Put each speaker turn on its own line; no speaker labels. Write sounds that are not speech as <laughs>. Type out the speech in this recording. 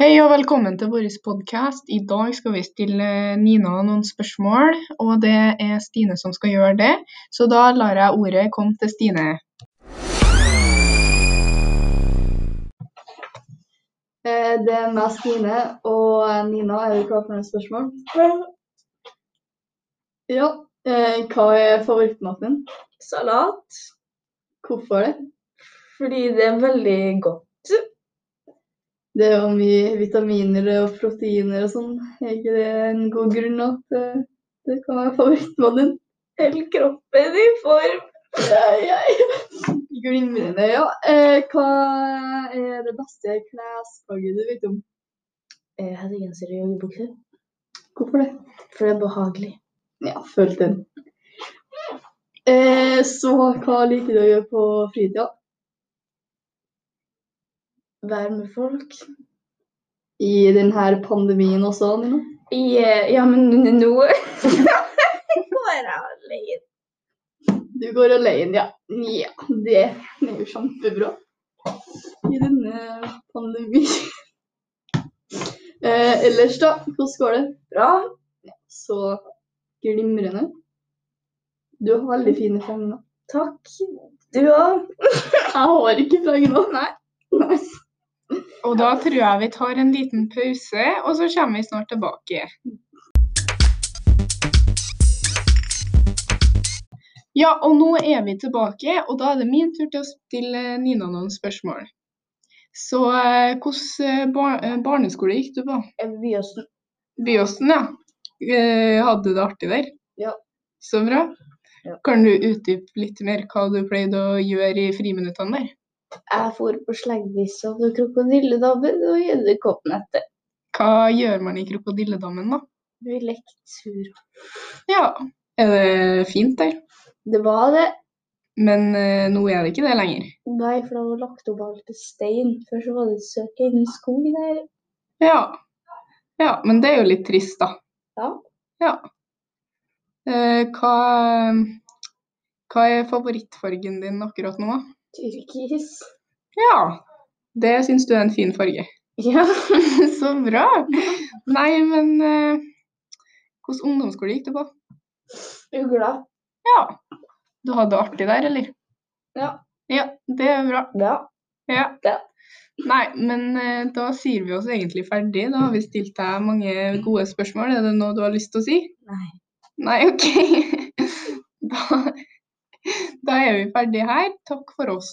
Hei og velkommen til vår podkast. I dag skal vi stille eh, Nina noen spørsmål, og det er Stine som skal gjøre det. Så da lar jeg ordet komme til Stine.
Eh, Det er meg, Stine, og eh, Nina. Er du klar for noen spørsmål? Ja. eh, Hva er favorittmaten din?
Salat,
Hvorfor det?
fordi det er veldig godt.
Det er jo mye vitaminer og proteiner og sånn. Er ikke det en god grunn at eh, det kan være favorittmaten din?
Hele kroppen i form.
Glimrende, ja. Eh, Hva er det beste klesplagget du vet om?
Jeg hadde genser og joggebukse,
Hvorfor det?
for det er behagelig.
Ja, følg den. Eh, Så hva liker du å gjøre på fritida?
Vær med folk.
I denne pandemien sånn. også, Nina?
ja, men nå <laughs> går jeg alene.
Du går alene, ja. Ja, det er jo kjempebra. I denne pandemien. Eh, ellers, da? Hvordan går det?
Bra.
Så glimrende. Du har veldig fine fregner.
Takk. Du òg.
Jeg har ikke fregner.
Nei.
Nei.
Og da tror jeg vi tar en liten pause, og så kommer vi snart tilbake. Ja, og nå er vi tilbake, og da er det min tur til å stille Nina noen spørsmål. Så eh, hvordan bar eh, barneskole gikk du på?
Byåsen.
Byåsen, ja. Eh, Hadde du det artig der?
Ja.
Så bra.
Ja.
Kan du utdype litt mer hva du pleide å gjøre i friminuttene der?
Jeg for på sleggvisa og krokodilledabben og edderkoppen etter.
Hva gjør man i krokodilledammen, da?
Vi lekte tur.
Ja, er det fint der?
Det var det.
Men eh, nå er det ikke det lenger.
Nei, for det var lagt opp alt til stein. Før så var det søkk inn i skogen her.
Ja. ja, men det er jo litt trist, da.
Ja.
Ja. Eh, hva, hva er favorittfargen din akkurat nå, da?
Tyrkis.
Ja, det syns du er en fin farge.
Ja.
<laughs> Så bra! Nei, men eh, hvordan ungdomsskole gikk du på?
Ugla.
Ja. Du hadde det artig der, eller?
Ja.
Ja, det er bra.
Ja.
Ja.
Ja.
Nei, men eh, da sier vi oss egentlig ferdig. Da har vi stilt deg mange gode spørsmål. Er det noe du har lyst til å si?
Nei.
Nei, <laughs> OK. Da, da er vi ferdige her. Takk for oss.